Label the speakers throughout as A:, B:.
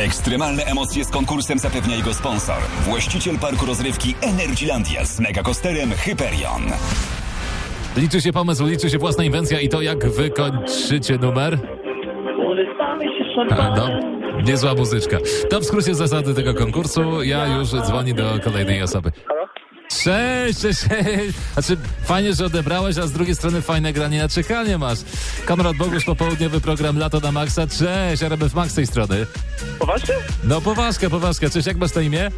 A: Ekstremalne emocje z konkursem zapewnia jego sponsor. Właściciel parku rozrywki Energylandia z megakosterem Hyperion.
B: Liczy się pomysł, liczy się własna inwencja i to, jak wykończycie numer.
C: Korzystamy się
B: A, No,
C: szarpanem.
B: niezła muzyczka. To w skrócie zasady tego konkursu. Ja już dzwonię do kolejnej osoby. Cześć, cześć, cześć. Znaczy, fajnie, że odebrałeś, a z drugiej strony fajne granie na czekanie masz. Konrad Bogusz, popołudniowy program Lato na Maxa. Cześć, RMF Max z tej strony.
C: Poważnie?
B: No, poważka, poważka. Cześć, jak masz na imię?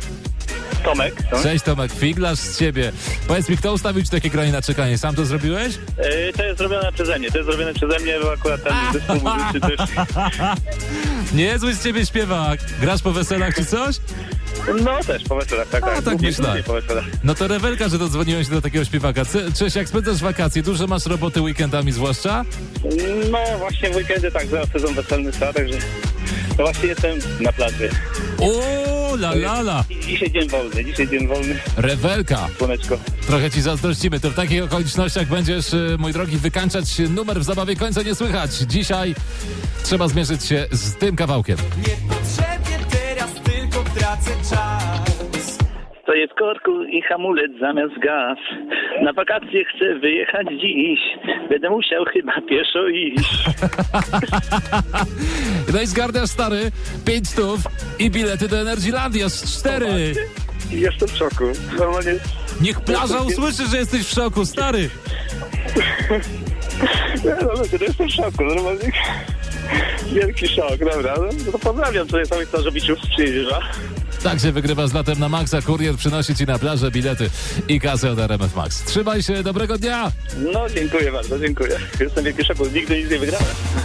C: Tomek. Tomek.
B: Cześć, Tomek, figlarz z ciebie. Powiedz mi, kto ustawił ci takie granie na czekanie? Sam to zrobiłeś?
C: Yy, to jest zrobione przeze mnie, to jest zrobione przeze mnie, bo akurat ten zespół muzyczny też...
B: Niezły z ciebie śpiewak. Grasz po weselach czy coś?
C: No też, po weselach, tak,
B: A,
C: tak.
B: tak
C: Głównie-
B: myślałem.
C: głównie Po weselach.
B: No to rewelka, że dodzwoniłeś do takiego śpiewaka. Ce- Cześć, jak spędzasz wakacje? Dużo masz roboty weekendami zwłaszcza?
C: No właśnie w weekendy tak, zaraz sezon weselny trwa, także... No właśnie jestem na plaży.
B: O, la la la!
C: I Dzisiaj dzień wolny, dzisiaj dzień wolny,
B: Rewelka!
C: słoneczko.
B: Trochę ci zazdrościmy. To w takich okolicznościach będziesz, y, mój drogi, wykańczać numer w zabawie końca nie słychać. Dzisiaj trzeba zmierzyć się z tym kawałkiem.
D: Niepotrzebnie teraz tylko tracę czas.
C: To jest korku i hamulec zamiast gaz. Na wakacje chcę wyjechać dziś. Będę musiał chyba pieszo iść.
B: No i zgarniasz stary, 5 stów i bilety do Energylandia z 4.
C: Jestem w szoku. Normalnie
B: Niech plaża usłyszy, że jesteś w szoku, stary.
C: Nie, no ludzie, to jestem w szoku, normalnie. Wielki szok, dobra. No, to pozdrawiam tutaj samych starzowiców z Przyjeździerza.
B: Tak się wygrywa z latem na maksa. Kurier przynosi ci na plażę bilety i kasę od RMF Max. Trzymaj się, dobrego dnia!
C: No, dziękuję bardzo, dziękuję. Jestem wielki szoku, nigdy nic nie wygrałem.